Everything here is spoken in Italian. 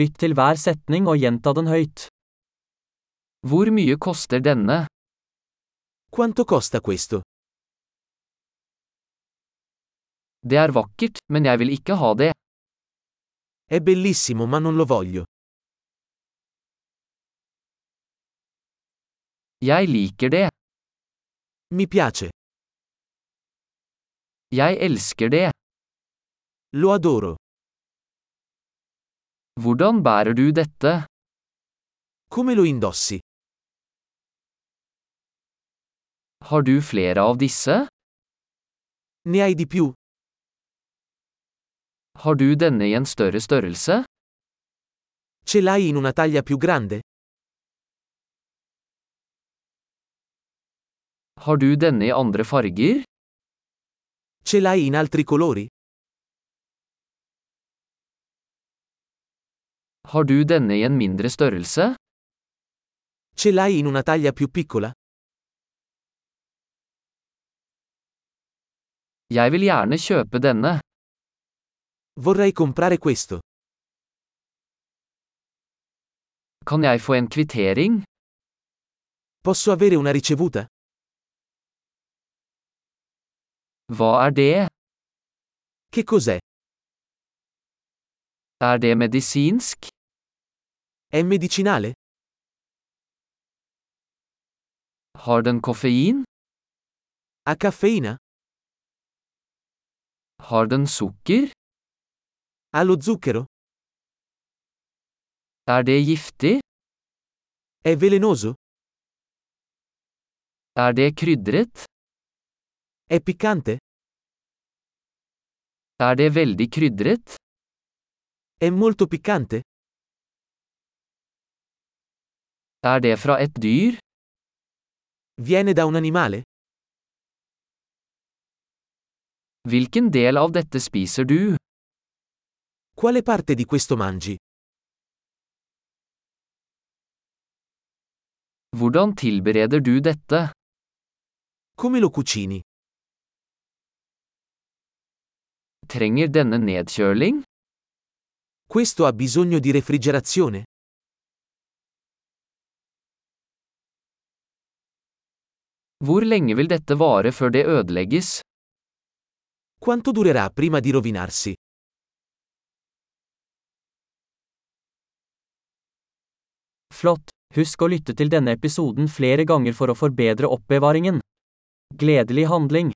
Lytt til hver setning og gjenta den høyt. Hvor mye koster denne? Quanto costa questo? Det er vakkert, men jeg vil ikke ha det. È bellissimo ma non lo voglio. Jeg liker det. Mi piace. Jeg elsker det. Lo adoro. Hvordan bærer du dette? Come lo indossi? Har du flere av disse? Ne hai di più? Har du denne i en større størrelse? Ce l'hai in una taglia più grande? Har du denne i andre farger? Ce l'hai in altri colori? Har du denne i en mindre størrelse? Ce l'hai in una taglia più piccola? Jeg vil gjerne kjøpe denne. Vorrei comprare questo. Kan jeg få en kvittering? Posso avere una ricevuta? Hva er det? Che cos'è? Er det medisinsk? È medicinale? Har den koffein? Ha caffeina? Har den sukker? Ha lo zucchero? Er det giftig? È velenoso? Er det krydret? È piccante? Er det veldig krydret? È molto piccante? Er det fra et dyr? Viene da un animale? Hvilken del av dette spiser du? Quale parte di questo mangi? Hvordan tilbereder du dette? Come lo cucini? Trenger denne nedkjøling? Questo ha bisogno di refrigerazione? Hvor lenge vil dette vare før det ødelegges? Quanto durerà prima di rovinarsi? Flott! Husk å lytte til denne episoden flere ganger for å forbedre oppbevaringen. Gledelig handling!